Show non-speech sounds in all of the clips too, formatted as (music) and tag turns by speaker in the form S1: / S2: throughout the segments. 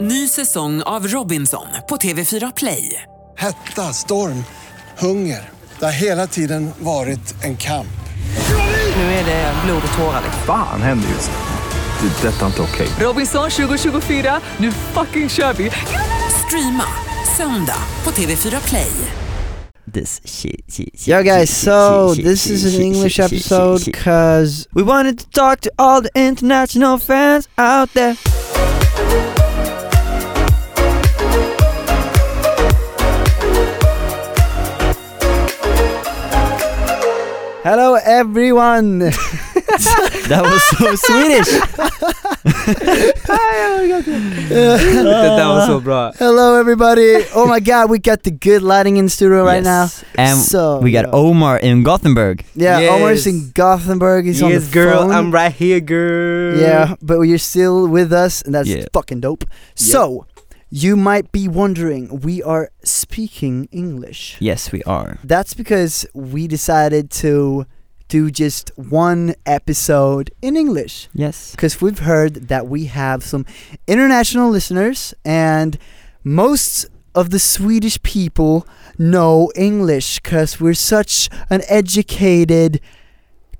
S1: Ny säsong av Robinson på TV4 Play.
S2: Hetta, storm, hunger. Det har hela tiden varit en kamp.
S1: Nu är det blod och tårar.
S3: Fan händer just nu. Det. är Detta är inte okej.
S1: Robinson 2024, nu fucking kör vi! Streama söndag på TV4 Play.
S4: this shit, shit, shit
S5: Yo guys,
S4: shit,
S5: so
S4: shit, shit,
S5: this
S4: shit,
S5: is an
S4: shit,
S5: English
S4: shit, shit, shit,
S5: episode
S4: shit.
S5: cause we wanted to talk to all the international fans out there. Hello everyone! (laughs)
S4: That was
S6: (laughs)
S4: so Swedish!
S5: oh
S4: (laughs)
S5: that
S4: var så bra.
S5: Hello everybody! (laughs) Oh my god, we got the good lighting in studio right now.
S4: And
S5: So,
S4: we got
S5: yeah.
S4: Omar in Gothenburg.
S5: Yeah, Omar's in Gothenburg, he's on the
S6: yes, girl,
S5: phone.
S6: I'm right here, girl.
S5: Yeah, but you're still with us, and that's
S4: Yeah.
S5: fucking dope. So, you might be wondering, we are speaking English.
S4: Yes, we are.
S5: That's because we decided to do just one episode in English.
S4: Yes.
S5: Because we've heard that we have some international listeners, and most of the Swedish people know English because we're such an educated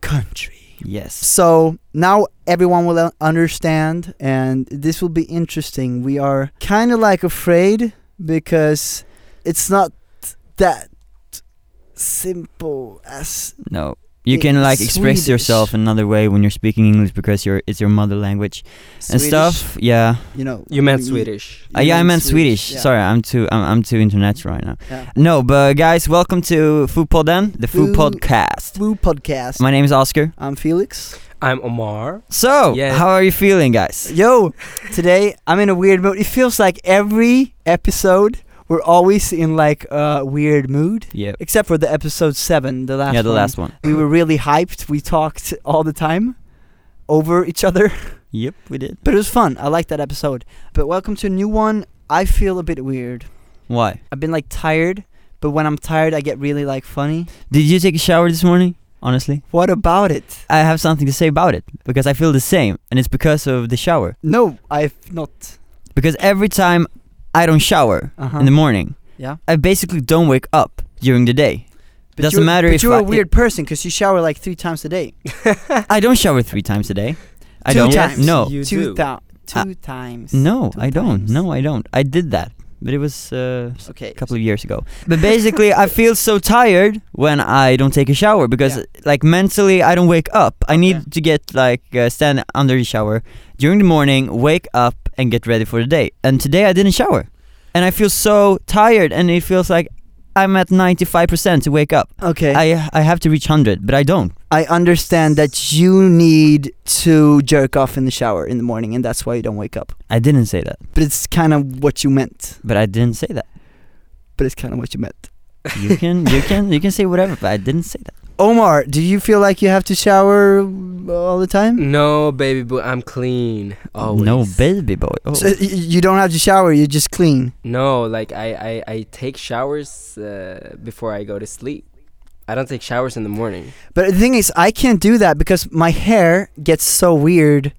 S5: country.
S4: Yes.
S5: So now everyone will un- understand, and this will be interesting. We are kind of like afraid because it's not that simple as
S4: No. You
S5: In
S4: can like express
S5: Swedish.
S4: yourself another way when you're speaking English because your it's your mother language
S5: Swedish,
S4: and stuff. Yeah.
S5: You know,
S6: You meant
S5: we-
S6: Swedish.
S4: Uh, yeah, I
S5: mean
S4: meant Swedish.
S5: yeah.
S4: Sorry, I'm too I'm, I'm too international right now.
S5: Yeah.
S4: No, but guys, welcome to Foodpodden, the
S5: Food-
S4: Food Podcast.
S5: Woo podcast.
S4: My name is Oscar.
S5: I'm Felix.
S6: I'm Omar.
S4: So,
S6: Yeah.
S4: how are you feeling, guys?
S5: Yo, today I'm in a weird mood. It feels like every episode we're always in like a weird mood,
S4: Yep.
S5: except for the episode seven, the last.
S4: Yeah, the
S5: one.
S4: last one.
S5: we were really hyped. We talked all the time over each other, (laughs)
S4: Yep, we did.
S5: but it was fun. I liked that episode. But welcome to a new one. I feel a bit weird.
S4: Why?
S5: I've been like tired, but when I'm tired, I get really like funny.
S4: Did you take a shower this morning? Honestly,
S5: What about it?
S4: I have something to say about it because I feel the same, and it's because of the shower.
S5: No, I've not.
S4: Because every time I don't shower
S5: Uh-huh.
S4: in the morning,
S5: Yeah.
S4: I basically don't wake up during the day.
S5: But
S4: Doesn't
S5: you're-
S4: matter
S5: but
S4: if
S5: you're
S4: I,
S5: a weird person 'cause person because you shower like three times a day.
S4: I don't shower three times a day. (laughs) I
S5: Two
S4: don't.
S5: times.
S4: No,
S6: You
S5: two
S6: do.
S5: thou-
S4: Uh,
S5: two times.
S4: no,
S5: Two
S4: I don't.
S5: times.
S4: No, I don't. I did that, but it was uh, s-
S5: Okay.
S4: a couple of years ago. But basically, I feel so tired when I don't take a shower because,
S5: Yeah.
S4: like, mentally, I don't wake up. I need
S5: Yeah.
S4: to get like uh, stand under the shower during the morning, wake up, and get ready for the day. And today I didn't shower, and I feel so tired, and it feels like I'm at 95% to wake up.
S5: Okay.
S4: I I have to reach 100, but I don't.
S5: I understand that you need to jerk off in the shower in the morning, and that's why you don't wake up.
S4: I didn't say that,
S5: But it's kind of what you meant.
S4: but I didn't say that.
S5: But it's kind of what you meant.
S4: You can you can you can say whatever, but I didn't say
S5: (laughs)
S4: that.
S5: Omar, do you feel like you have to shower all the time?
S6: No, baby, but I'm clean. Always.
S4: No baby boy. Oh.
S5: So y- you don't have to shower. You just clean.
S6: No, like I, I, I take showers uh, before I go to sleep. I don't take showers in the morning.
S5: But the thing is, I can't do that because my hair gets so weird.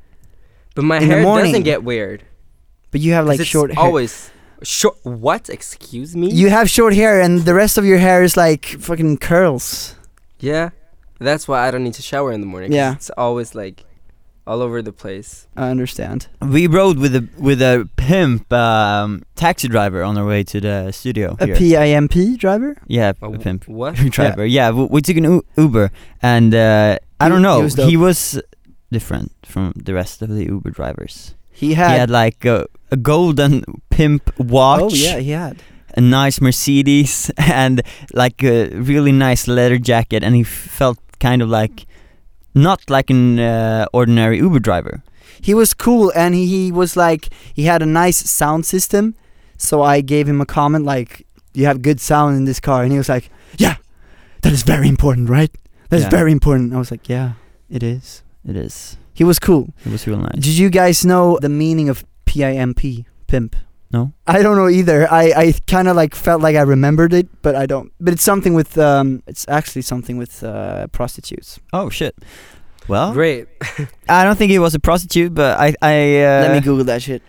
S6: But my
S5: In the
S6: hair
S5: morning.
S6: doesn't get weird. 'cause
S5: But you have like
S6: it's
S5: short hair.
S6: Always. Short. What? Excuse me?
S5: You have short hair, and the rest of your hair is like fucking curls.
S6: yeah. That's why I don't need to shower in the morning. 'cause
S5: Yeah.
S6: It's always like all over the place.
S5: I understand.
S4: We rode with a with a pimp um, taxi driver on our way to the studio.
S5: A
S4: here.
S5: PIMP driver?
S4: yeah,
S6: Uh,
S4: a pimp (laughs)
S6: What?
S4: driver. Yeah, we, we took an u- Uber, and uh, I
S5: He-
S4: don't
S5: he
S4: know.
S5: was dope.
S4: He was different from the rest of the Uber drivers.
S5: He
S4: He
S5: had.
S4: had like a, a golden pimp watch,
S5: oh yeah, he had.
S4: a nice Mercedes, (laughs) and like a really nice leather jacket, and he felt kind of like not like an uh, ordinary Uber driver.
S5: he was cool and he, he was like he had a nice sound system so i gave him a comment like you have good sound in this car and he was like yeah that is very important right that's
S4: Yeah.
S5: very important i was like yeah it is
S4: It is.
S5: he was cool
S4: It was real nice.
S5: did you guys know the meaning of pimp pimp
S4: No.
S5: i don't know either i, I kind of like felt like i remembered it but i don't but it's something with um it's actually something with uh, prostitutes
S4: Oh shit. Well,
S6: Great.
S4: I don't think he was a prostitute, but I I uh,
S5: (laughs) let me google that shit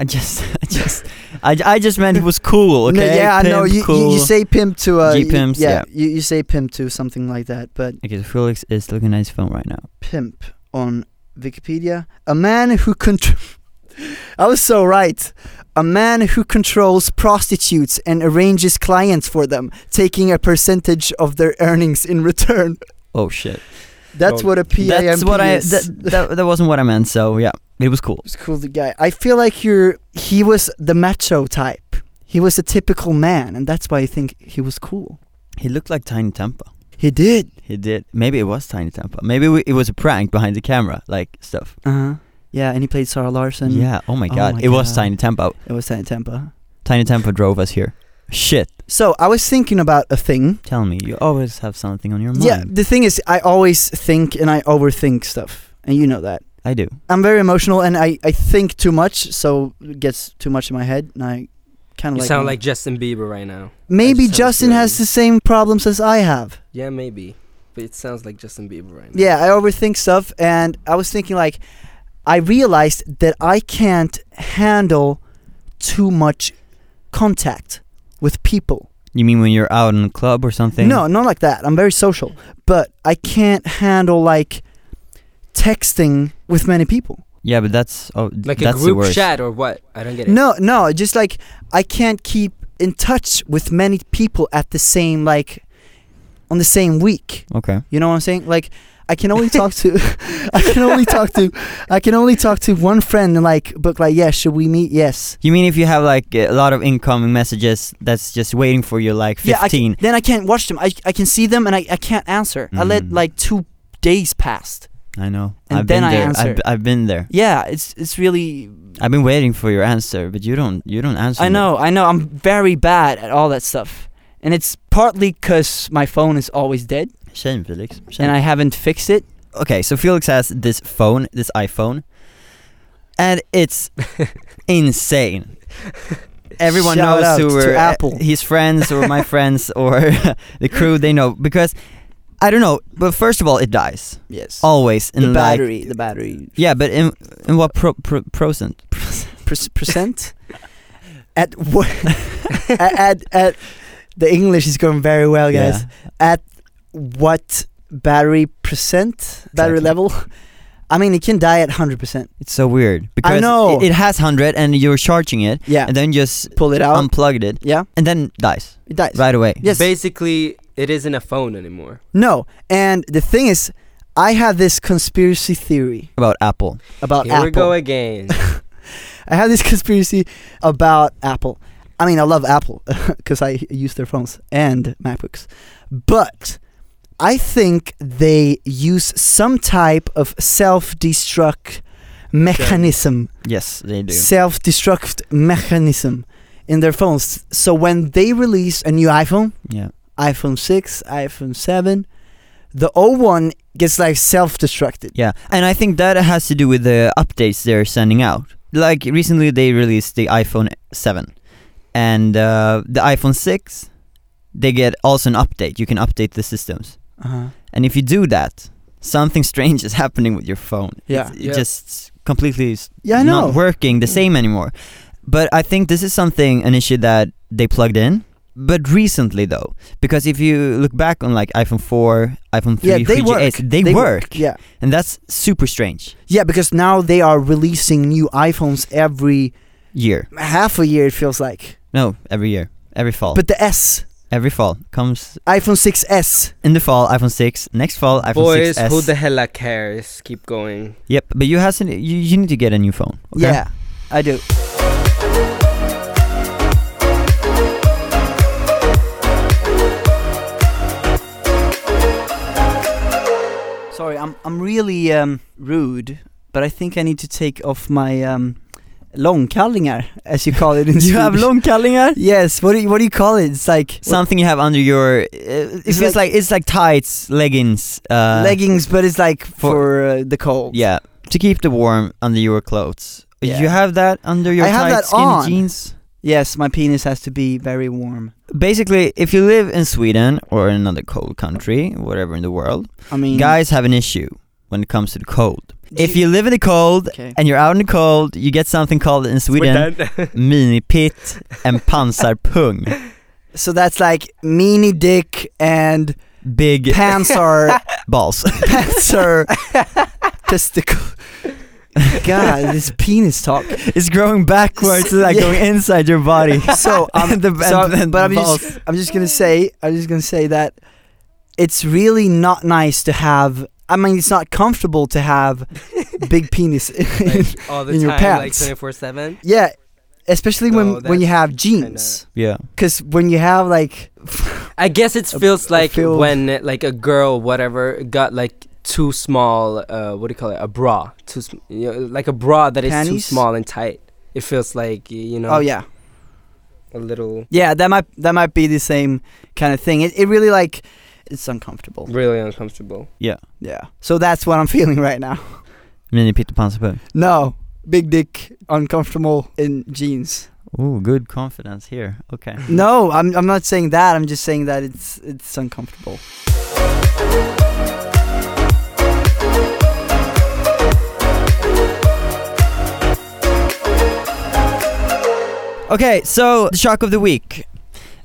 S4: I just, (laughs) I just, I, I just meant it was cool. Okay,
S5: No, yeah, I know.
S4: Pimp,
S5: You, you-
S4: cool.
S5: you say pimp to uh, you-
S4: G-pimps, yeah.
S5: You, you say pimp to something like that, but
S4: Okay, so Felix is looking at his phone right now.
S5: pimp on Wikipedia, a man who contr (laughs) I was so right. A man who controls prostitutes and arranges clients for them, taking a percentage of their earnings in return. (laughs)
S4: Oh shit.
S5: That's
S6: Oh,
S5: what a PIMP
S4: That's what I.
S5: is. (laughs)
S4: That, that that wasn't what I meant. So yeah, it was cool.
S5: was cool the guy. I feel like you're he was the macho type. He was a typical man and that's why I think he was cool.
S4: He looked like Tiny Tampa.
S5: He did.
S4: He did. Maybe it was Tiny Tampa. Maybe we, it was a prank behind the camera, like stuff.
S5: Uh-huh. Yeah, and he played Sarah Larson.
S4: yeah. Oh my
S5: Oh
S4: god.
S5: my
S4: it was
S5: God.
S4: Tiny Tampa.
S5: It was Tiny Tempa.
S4: Tiny Tampa drove us here. Shit.
S5: So I was thinking about a thing.
S4: Tell me, you always have something on your mind.
S5: Yeah, the thing is I always think and I overthink stuff. And you know that.
S4: I do.
S5: I'm very emotional and I, I think too much, so it gets too much in my head and I kinda
S6: You
S5: like
S6: sound like Justin Bieber right now. I
S5: Maybe
S6: just have a
S5: Justin has
S6: feeling.
S5: the same problems as I have.
S6: Yeah, maybe. But it sounds like Justin Bieber right now.
S5: Yeah, I overthink stuff, and I was thinking like, I realized that I can't handle too much contact with people.
S4: You mean when you're out in a club or something?
S5: No, not like that. I'm very social, but I can't handle like texting with many people.
S4: Yeah, but that's oh,
S6: Like
S4: that's
S6: a
S4: the
S6: group
S4: worst.
S6: chat or what? I don't get it.
S5: No, no, just like I can't keep in touch with many people at the same like on the same week.
S4: Okay.
S5: You know what I'm saying? Like I can only talk to (laughs) I can only talk to I can only talk to one friend and like book like yeah, should we meet? Yes.
S4: You mean if you have like a lot of incoming messages that's just waiting for you, like
S5: Yeah, I
S4: fifteen?
S5: can, then I can't watch them. I, I can see them and I, I can't answer. I let
S4: Mm.
S5: like two days past.
S4: I know.
S5: And
S4: I've
S5: then
S4: been
S5: I
S4: there.
S5: answer.
S4: I've, I've been there.
S5: Yeah, it's it's really
S4: I've been waiting for your answer, but you don't. You don't answer.
S5: I
S4: me.
S5: know, I know I'm very bad at all that stuff. And it's partly cuz my phone is always dead
S4: Shame, Felix. Shame.
S5: and I haven't fixed it.
S4: okay, so Felix has this phone, this iPhone, and
S5: (laughs)
S4: it's insane. Everyone
S5: Shout
S4: knows
S5: out
S4: who
S5: to
S4: we're uh,
S5: Apple.
S4: his friends or
S5: (laughs)
S4: my friends or (laughs) the crew. They know because I don't know. But first of all, it dies
S5: Yes.
S4: always.
S5: the
S4: in like-
S5: battery, the battery
S4: yeah, but in in what pro, pro, percent?
S5: per- percent (laughs) at (laughs) what at, at at the English is going very well, guys. At what battery percent battery
S4: Exactly.
S5: level? I mean, it can die at hundred percent.
S4: It's so weird because
S5: know.
S4: It, it has hundred and you're charging it,
S5: Yeah, Oh.
S4: and then just
S5: pull it out.
S4: unplugged it
S5: yeah,
S4: and then dies
S5: it dies.
S4: right away.
S5: Yes.
S6: Basically, it isn't a phone anymore.
S5: No, and the thing is, I have this conspiracy theory
S4: About Apple.
S5: about
S6: Here
S5: Uh, Apple.
S6: we go again.
S5: I have this (laughs) conspiracy about Apple. I mean, I love Apple (laughs) because I use their phones and MacBooks. But I think they use some type of self destruct mechanism,
S4: Yes, they do.
S5: self destruct mechanism in their phones. So when they release a new iPhone,
S4: Yeah.
S5: iPhone 6, iPhone 7, the old one gets like self destructed.
S4: Yeah, and I think that has to do with the updates they're sending out. Like recently, they released the iPhone Seven, and uh, the iPhone Six. They get also an update. You can update the systems,
S5: Uh-huh.
S4: and if you do that, something (laughs) strange is happening with your phone.
S5: Yeah.
S4: it's, it
S6: Yeah.
S4: just completely is
S5: Yeah, I know.
S4: not working the same anymore. But I think this is something an issue that they plugged in. But recently though, because if you look back on like iPhone 4, iPhone 3,
S5: Yeah, they
S4: 3GS,
S5: work.
S4: they,
S5: They
S4: work.
S5: work, yeah.
S4: and that's super strange.
S5: Yeah, because now they are releasing new iPhones every
S4: Year,
S5: half a year it feels like.
S4: no, every year, every fall,
S5: But the S,
S4: every fall comes
S5: iPhone 6S.
S4: in the fall. iPhone 6, next fall, (laughs) iPhone
S6: Boys,
S4: 6s.
S6: who the hella cares? Keep going.
S4: yep, but you has you, you need to get a new phone. okay?
S5: Yeah, I do. Sorry, I'm I'm really um, rude, but I think I need to take off my um, långkallingar, as you call it in
S4: (laughs) you have
S5: Swedish.
S4: long kallingar.
S5: Yes. What do you, what do you call it? It's like
S4: Something you have under your. Uh, it
S5: It's
S4: feels
S5: like-
S4: like, it's like tights, leggings. Uh,
S5: leggings, but it's like for,
S4: for-
S5: uh, the cold.
S4: Yeah, to keep the warm under your clothes.
S5: Yeah.
S4: You have that under your
S5: I have
S4: tight
S5: that
S4: skinny
S5: on.
S4: jeans.
S5: Yes, my penis has to be very warm.
S4: Basically, if you live in Sweden or in another cold country, whatever in the world,
S5: I mean,
S4: guys have an issue when it comes to the cold. If you live in the cold
S1: Okay.
S4: and you're out in the cold, you get something called in Sweden (laughs)
S5: (laughs)
S4: minipitt and pansarpung.
S5: So that's like mini dick and
S4: Big
S5: (laughs) panzer
S4: (laughs) balls.
S5: panzer testicle. God, this penis talk.
S4: (laughs) it's growing backwards, it's
S5: (laughs)
S4: like
S5: Yeah.
S4: going inside your body. (laughs)
S5: So I'm
S4: And the-
S5: so,
S4: and- and
S5: but I'm
S4: the
S5: just I'm just gonna say I'm just gonna say that it's really not nice to have. I mean, it's not comfortable to have big penis.
S6: like, all the
S5: in
S6: time,
S5: your
S6: like
S5: pants.
S6: 24 7.
S5: (laughs) yeah, especially
S6: No,
S5: when when you
S6: that's
S5: have
S6: kinda-
S5: jeans.
S4: Yeah.
S5: Because when you have like
S6: I guess it
S5: A-
S6: feels
S5: a
S6: like
S5: feel-
S6: when uh, like a girl, whatever, got like too small. Uh, what do you call it? A bra, too sm- you know, like a bra that is too
S5: Panties?
S6: small and tight. It feels like y- you know.
S5: oh yeah
S6: A little
S5: yeah that might that might be the same kind of thing. It it really like it's uncomfortable.
S6: really uncomfortable.
S5: Yeah. So that's what I'm (laughs) feeling right now.
S4: Minipitt och pansarpung.
S5: No, big dick, uncomfortable in jeans.
S4: Ooh, good confidence here. Okay.
S5: No, I'm I'm not saying that. I'm just saying that it's it's uncomfortable.
S4: Okay, so the shock of the week.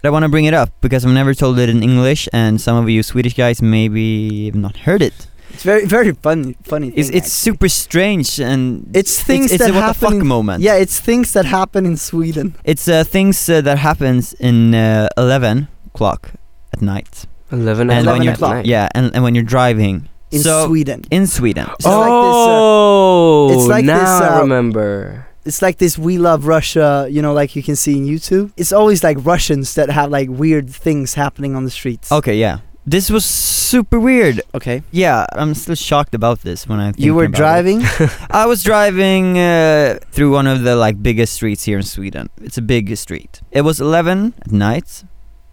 S4: I want to bring it up because I've never told it in English, and some of you Swedish guys maybe have not heard it.
S5: It's very very funny funny.
S4: It's,
S5: thing,
S4: it's super strange and
S5: It's things
S4: it's,
S5: that
S4: a what
S5: happen
S4: the fuck
S5: in-
S4: moment.
S5: actually. yeah, it's things that happen in Sweden.
S4: it's uh, things uh, that happens in uh, eleven o'clock at night,
S6: Eleven,
S4: and when
S5: 11
S4: you're
S5: o'clock.
S4: yeah, and, and when you're driving.
S5: In
S4: so
S5: Sweden,
S4: in Sweden,
S5: So- like this, uh,
S6: oh,
S5: it's like
S6: now
S5: this,
S6: I
S5: uh,
S6: remember.
S5: it's like this "We Love Russia," you know, like you can see in YouTube. It's always like Russians that have like weird things happening on the streets.
S4: okay, yeah, this was super weird.
S5: okay.
S4: Yeah, I'm still shocked about this when I.
S5: You were
S4: thinking about it.
S5: driving.
S4: I was driving uh, through one of the like biggest streets here in Sweden. It's a big street. It was 11 at night.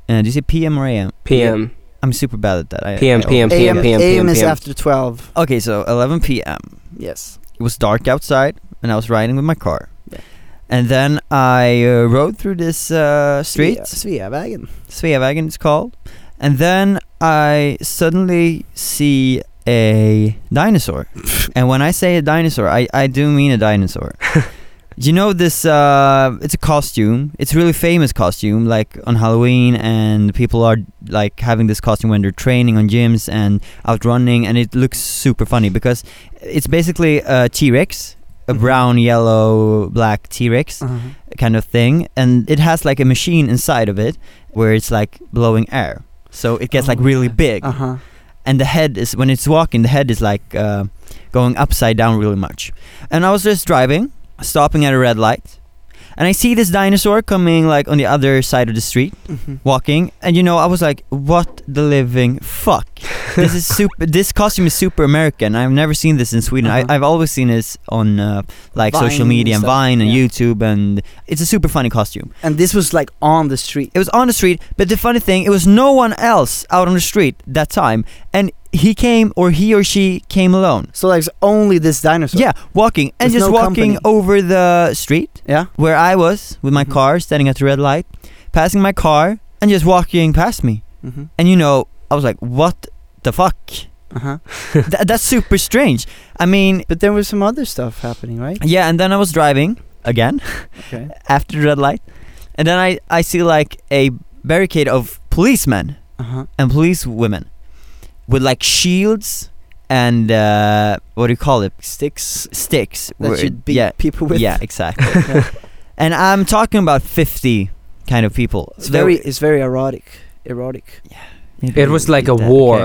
S4: Uh, do you say PM or AM?
S6: PM,
S4: I'm super bad at that. I,
S6: PM,
S4: I al-
S6: PM, PM,
S5: AM,
S6: PM,
S5: AM is
S6: PM.
S5: after twelve.
S4: Okay, so 11 PM.
S5: Yes.
S4: It was dark outside, and I was riding with my car.
S5: Yeah.
S4: And then I uh, rode through this uh, street,
S5: Svea- Sveavägen.
S4: Sveavägen it's called, and then I suddenly see a dinosaur. and when I say a dinosaur, I, I do mean a dinosaur. you know this uh, it's a costume. It's a really famous costume like on Halloween and people are like having this costume when they're training on gyms and out running and it looks super funny because it's basically a T-Rex, a
S5: Mhm.
S4: brown, yellow, black T-Rex kind of thing and it has like a machine inside of it where it's like blowing air so it gets
S5: Oh,
S4: like really
S5: yeah.
S4: big
S5: Uh huh.
S4: and the head is when it's walking the head is like uh, going upside down really much and i was just driving stopping at a red light and i see this dinosaur coming like on the other side of the street
S5: Mhm.
S4: walking and you know i was like what the living fuck this
S5: (laughs)
S4: is super this costume is super american i've never seen this in sweden
S5: Uh-huh.
S4: I, i've always seen this on uh, like social
S5: Vine
S4: media and
S5: stuff,
S4: vine and
S5: yeah.
S4: youtube and it's a super funny costume
S5: And this was like on the street.
S4: it was on the street, but the funny thing, it was no one else out on the street that time. And he came, or he or she came alone.
S5: So like it's only this dinosaur.
S4: yeah, walking and
S5: There's
S4: just
S5: no
S4: walking
S5: company.
S4: over the street
S5: Yeah.
S4: where I was with my
S5: Mhm.
S4: car, standing at the red light, passing my car, and just walking past me.
S5: Mm-hmm.
S4: And you know, I was like, "What the
S5: (laughs)
S4: fuck?
S5: Uh huh.
S4: Th- that's super strange." I mean,
S5: But there was some other stuff happening, right?
S4: yeah. And then I was driving again (laughs)
S5: Okay.
S4: after the red light, and then I I see like a barricade of policemen
S5: Uh huh.
S4: and police women with like shields and uh, what do you call it?
S5: Sticks
S4: Sticks.
S5: that
S4: where-
S5: should beat
S4: yeah,
S5: people with.
S4: yeah, exactly.
S5: Yeah.
S4: (laughs) and I'm talking about 50 kind of people.
S5: It's
S4: There-
S5: very, it's very erotic. Erotic.
S6: It was like a
S4: Okay.
S6: war.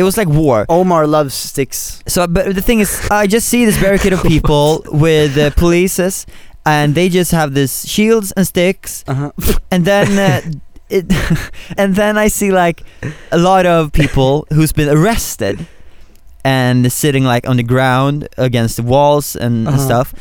S4: It was like war.
S5: Omar loves sticks.
S4: So, but the thing is, I just see this barricade of people with uh, polices, and they just have this shields and sticks,
S5: Uh huh.
S4: and then. Uh, It, (laughs) and then I see like a lot of people who's been arrested and sitting like on the ground against the walls and, and
S5: Uh-huh.
S4: stuff.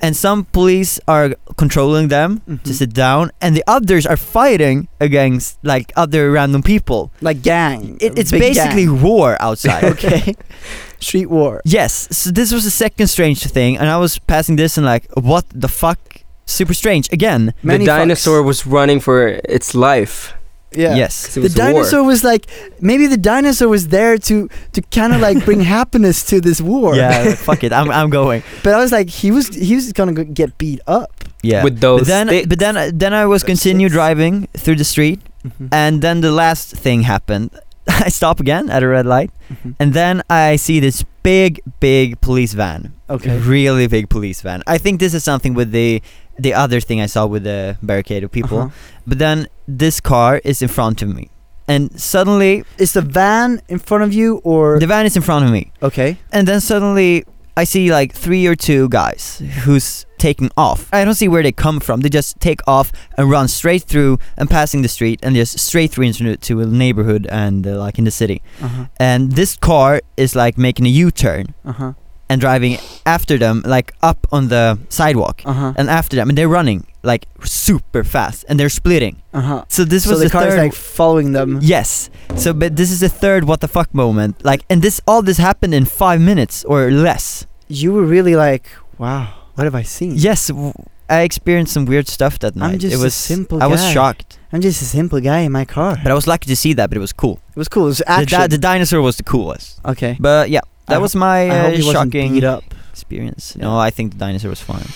S4: And some police are controlling them to sit down, and the others are fighting against like other random people.
S5: Like gang.
S4: It, it's
S5: Big
S4: basically
S5: gang.
S4: war
S5: (laughs)
S4: outside.
S5: okay. Street war.
S4: Yes, so this was the second strange thing, and I was passing this and like, what the fuck? Super strange again.
S5: Many
S6: the dinosaur
S5: fucks.
S6: was running for its life.
S5: Yeah.
S4: Yes.
S6: 'Cause
S5: The
S6: it was a war.
S5: dinosaur was like maybe the dinosaur was there to to kind of like (laughs) bring happiness to this war. (laughs)
S4: Yeah, fuck it. I'm I'm going.
S5: But I was like he was he was gonna go- get beat up.
S4: Yeah.
S6: With those
S4: but then
S6: sticks.
S4: but then then I was
S6: Those
S4: continue
S6: sticks.
S4: driving through the street
S5: Mm-hmm.
S4: and then the last thing happened. (laughs) I stop again at a red light
S5: Mhm.
S4: and then I see this big big police van.
S5: Okay.
S4: Really big police van. I think this is something with the the other thing I saw with the barricade of people.
S5: Uh-huh.
S4: But then this car is in front of me. And suddenly
S5: Is the van in front of you or
S4: the van is in front of me.
S5: okay?
S4: And then suddenly I see like three or two guys who's taking off. I don't see where they come from. They just take off and run straight through and passing the street and just straight through into to a neighborhood and uh, like in the city.
S5: Uh-huh.
S4: And this car is like making a U-turn
S5: Uh-huh.
S4: and driving after them like up on the sidewalk.
S5: Uh-huh.
S4: And after them and they're running like super fast and they're splitting.
S5: Uh-huh.
S4: So this
S5: so
S4: was
S5: the,
S4: the
S5: car is
S4: third
S5: like following them.
S4: (laughs) Yes. So, but this is the third what the fuck moment. Like, and this all this happened in five minutes or less.
S5: You were really like, wow, what have I seen?
S4: Yes, w- I experienced some weird stuff that night.
S5: just
S4: it
S5: a
S4: was
S5: simple
S4: I was
S5: guy.
S4: shocked,
S5: I'm just a simple guy in my car.
S4: but I was lucky to see that. But it was cool.
S5: It was cool. It was
S4: The, di-
S5: action.
S4: the dinosaur was the coolest.
S5: okay.
S4: But yeah, that
S5: I
S4: was my
S5: I hope
S4: uh,
S5: he wasn't
S4: shocking
S5: beat up.
S4: experience.
S5: Yeah.
S4: No, I think the dinosaur was fine.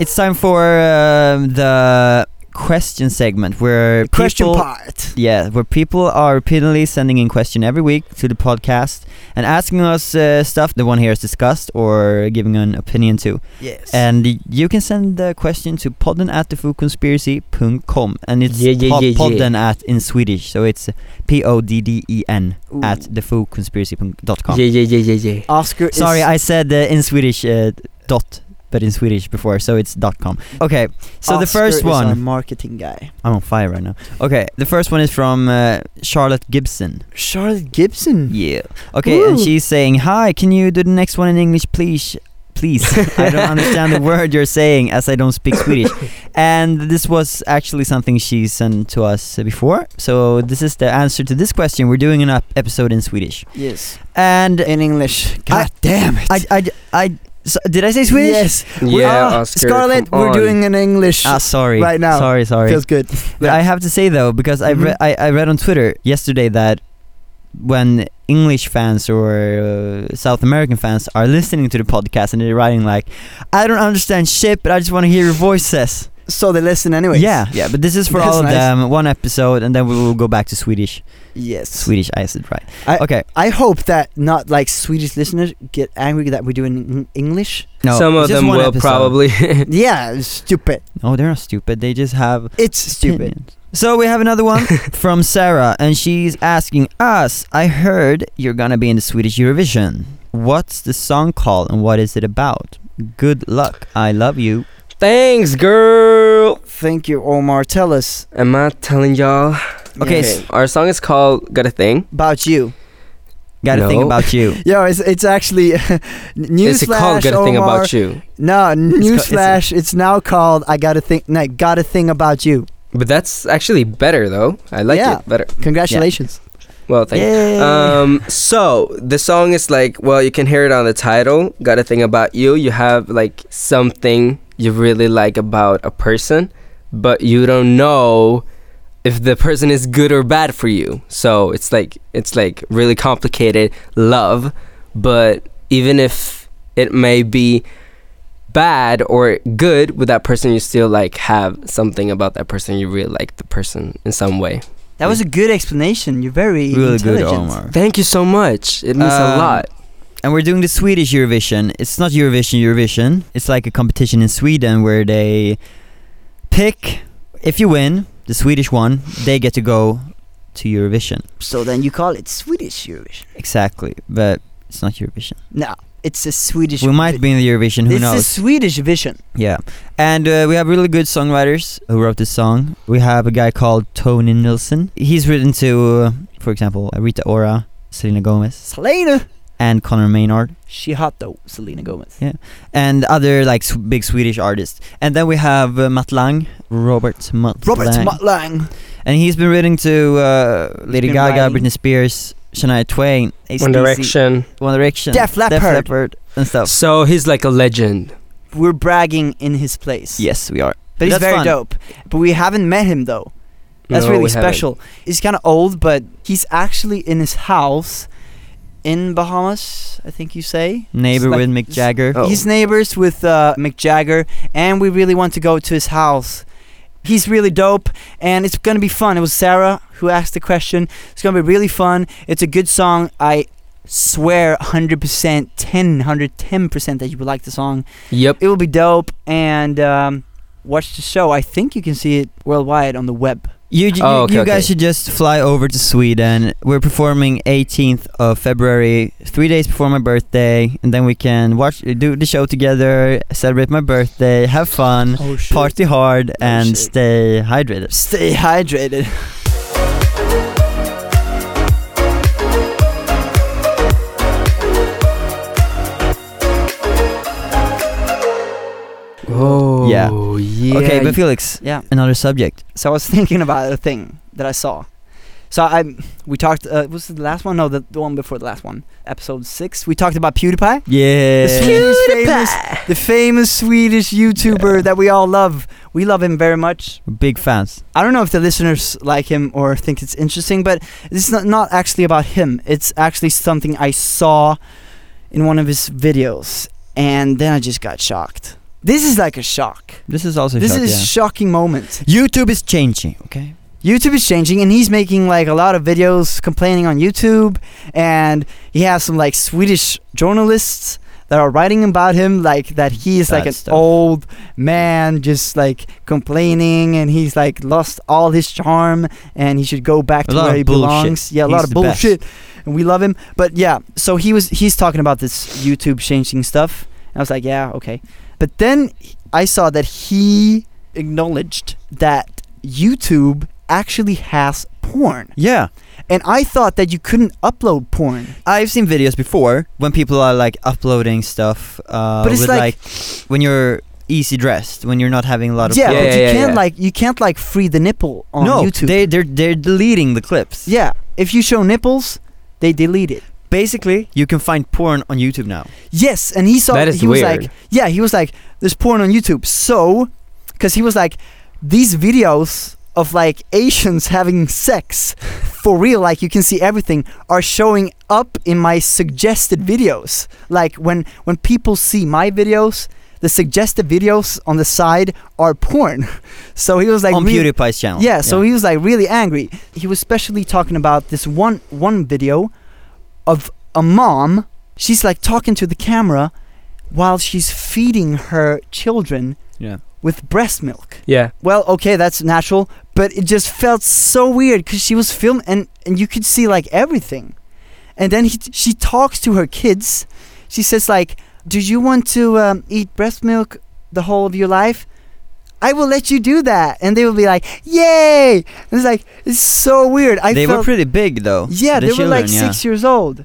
S4: It's time for um, the question segment where
S5: Question
S4: people,
S5: part.
S4: yeah, where people are repeatedly sending in question every week to the podcast and asking us uh, stuff the one here has discussed or giving an opinion to.
S5: Yes.
S4: And y- you can send the question to podden at thefoodconspiracy.com and it's
S6: Yeah, yeah,
S4: pod-
S6: yeah, yeah.
S4: podden at in Swedish, so it's P O D D E N
S5: Ooh.
S4: at thefoodconspiracy.com.
S6: Yeah, yeah, yeah, yeah, yeah.
S5: Oscar.
S4: Sorry,
S5: is,
S4: I said uh, in Swedish uh, dot, but in Swedish before, so it's dot com. Okay, so the
S5: Oscar
S4: first
S5: is
S4: one,
S5: our marketing guy.
S4: I'm on fire right now. Okay, the first one is from uh, Charlotte Gibson.
S5: Charlotte Gibson.
S4: Yeah. Okay, and
S5: Ooh.
S4: she's saying, "Hi, can you do the next one in English, please?" Please, I don't understand the word you're saying as I don't
S5: (laughs)
S4: speak Swedish. And this was actually something she sent to us before. So this is the answer to this question. We're doing an up episode in Swedish.
S5: Yes.
S4: And
S5: In English. God damn it.
S4: I, I, I, so, did I say Swedish?
S5: Yes. We
S6: Yeah,
S5: are- Ah,
S6: Oscar.
S5: Scarlett,
S6: come
S5: we're
S6: on.
S5: doing an English.
S4: Ah, sorry.
S5: Right now.
S4: Sorry, sorry.
S5: Feels good.
S4: But I have to say though, because I, re-
S5: Mhm.
S4: I I read on Twitter yesterday that when English fans or uh, South American fans are listening to the podcast and they're writing like, "I don't understand shit, but I just want to hear your voices."
S5: So they listen anyways.
S4: Yeah, yeah. But this is for
S5: That's
S4: all of
S5: nice.
S4: them, one episode, and then we will go back to Swedish.
S5: Yes.
S4: Swedish, I said right.
S5: I-
S4: okay,
S5: I hope that not like Swedish listeners get angry that we're doing in English.
S4: no,
S6: Some
S4: it's
S6: of
S4: just
S6: them
S4: one
S6: will
S4: episode.
S6: probably. (laughs)
S5: Yeah, it's stupid.
S4: No, they're not stupid. They just have
S5: It's
S6: (laughs)
S5: stupid.
S4: opinions. So we have another one from Sarah, and she's asking us. I heard you're gonna be in the Swedish Eurovision. What's the song called, and what is it about? Good luck. I love you.
S6: Thanks, girl.
S5: Thank you, Omar. Tell us
S6: Am I telling y'all?
S4: Okay,
S5: Yes.
S4: s-
S6: Our song is called "Got a Thing."
S5: about you.
S4: got a thing
S6: No.
S4: about you.
S5: Yeah, it's it's actually (laughs) newsflash.
S6: Is it called "Got a Thing About You"?
S5: No,
S4: it's a-
S5: newsflash. It's, now called I got a thing. No, got a thing about you.
S6: But that's actually better, though. I like
S5: Yeah.
S6: it better.
S5: Congratulations.
S6: Well, thank
S5: Yay.
S6: you. Um, so the song is like, well, you can hear it on the title. Got a thing about you. You have like something you really like about a person, but you don't know if the person is good or bad for you. So it's like it's like really complicated love, but even if it may be bad or good with that person, you still like have something about that person. You really like the person in some way.
S5: That was a good explanation. You're very
S4: Really good,
S5: intelligent.
S4: Omar.
S6: Thank you so much. It means a
S4: Um,
S6: lot.
S4: And we're doing the Swedish Eurovision. It's not Eurovision, Eurovision. It's like a competition in Sweden where they pick. If you win, the Swedish one, they get to go to Eurovision.
S5: So then you call it Swedish Eurovision.
S4: Exactly, but it's not Eurovision.
S5: No, it's a Swedish.
S4: We might be in the Eurovision. Who
S5: it's
S4: knows?
S5: a Swedish vision.
S4: Yeah, and uh, we have really good songwriters who wrote this song. We have a guy called Tony Nilsson. He's written to, uh, for example, Rita Ora, Selena Gomez,
S5: Selena.
S4: and Connor Maynard,
S5: She hot though, Selena Gomez.
S4: and other like s big Swedish artists. And then we have uh, Matt Lang, Robert Matt
S5: Robert
S4: Lang,
S5: Mutt Lang.
S4: and he's been written to uh, Lady
S5: been
S4: Gaga,
S5: writing.
S4: Britney Spears, Shania Twain, AC/DC,
S6: One Direction.
S4: One Direction,
S5: Def Leppard.
S4: Leppard and stuff.
S6: Oh. So he's like a legend.
S5: We're bragging in his place.
S4: Yes, we are.
S5: But he's
S4: That's
S5: very
S4: fun.
S5: dope. But we haven't met him though. That's
S6: No,
S5: really
S6: we haven't.
S5: special. He's kind of old, but he's actually in his house in Bahamas, I think you say.
S4: Neighbor
S5: It's like-
S4: with Mick Jagger.
S5: He's neighbors with uh, Mick Jagger, and we really want to go to his house. He's really dope, and it's gonna be fun. It was Sarah who asked the question. It's gonna be really fun. It's a good song. I swear 100%, 10, 110% that you would like the song.
S6: Yep.
S5: It will be dope, and um, watch the show. I think you can see it worldwide on the web.
S4: You, you,
S6: Oh, okay,
S4: you guys
S6: okay.
S4: should just fly over to Sweden. We're performing 18th of February, three days before my birthday, and then we can watch, do the show together, celebrate my birthday, have fun,
S5: Oh, shit.
S4: party hard, and
S5: shit.
S4: stay hydrated.
S5: Stay hydrated.
S6: Oh.
S4: Yeah.
S6: yeah.
S4: okay, but Felix,
S5: Yeah.
S4: another subject.
S5: So I was (laughs) thinking about a thing that I saw. So I we talked. Uh, was it the last one? No, the, the one before the last one, episode six. We talked about PewDiePie,
S4: Yeah.
S5: The Swedish famous, the famous Swedish YouTuber that we all love. We love him very much.
S4: Big fans.
S5: I don't know if the listeners like him or think it's interesting, but this is not, not actually about him. It's actually something I saw in one of his videos, and then I just got shocked. This is like a shock.
S4: This is also
S5: This
S4: shock,
S5: is
S4: yeah.
S5: shocking moment.
S4: YouTube is changing, okay?
S5: YouTube is changing, and he's making like a lot of videos complaining on YouTube, and he has some like Swedish journalists that are writing about him, like that he is like
S4: Bad
S5: an
S4: stuff.
S5: old man, just like complaining, and he's like lost all his charm, and he should go back
S4: A
S5: to
S4: lot
S5: where
S4: of
S5: he
S4: bullshit.
S5: belongs. Yeah, a
S4: He's
S5: lot of
S4: the best.
S5: bullshit, and we love him. But yeah, so he was he's talking about this YouTube changing stuff, and I was like, yeah, okay. But then I saw that he acknowledged that YouTube actually has porn.
S4: Yeah.
S5: And I thought that you couldn't upload porn.
S4: I've seen videos before when people are like uploading stuff, uh,
S5: But it's
S4: with,
S5: like-
S4: like, when you're easy dressed, when you're not having a lot of
S5: Yeah,
S6: Yeah,
S5: but
S6: yeah,
S5: you
S6: yeah,
S5: can't
S6: yeah.
S5: like you can't like free the nipple on
S4: no,
S5: YouTube.
S4: they they're they're deleting the clips.
S5: yeah, if you show nipples, they delete it.
S4: basically, you can find porn on YouTube now.
S5: Yes, and he saw
S6: That is
S5: he was
S6: weird.
S5: like, yeah, he was like, there's porn on YouTube. So, because he was like, these videos of like Asians having
S6: (laughs)
S5: sex for real, like you can see everything, are showing up in my suggested videos. Like when when people see my videos, the suggested videos on the side are porn. (laughs) So he was like
S4: on
S5: really-
S4: PewDiePie's channel.
S5: yeah, so he was like really angry. He was especially talking about this one one video of a mom. She's like talking to the camera while she's feeding her children
S4: Yeah.
S5: with breast milk.
S6: Yeah.
S5: Well, okay, that's natural, but it just felt so weird cuz she was filming and and you could see like everything. And then he, she talks to her kids. She says like, "Do you want to um, eat breast milk the whole of your life?" I will let you do that, and they will be like, "Yay!" And it's like it's so weird. I
S4: they
S5: felt,
S4: were pretty big though.
S5: yeah,
S4: the
S5: they
S4: children,
S5: were like
S4: yeah.
S5: six years old.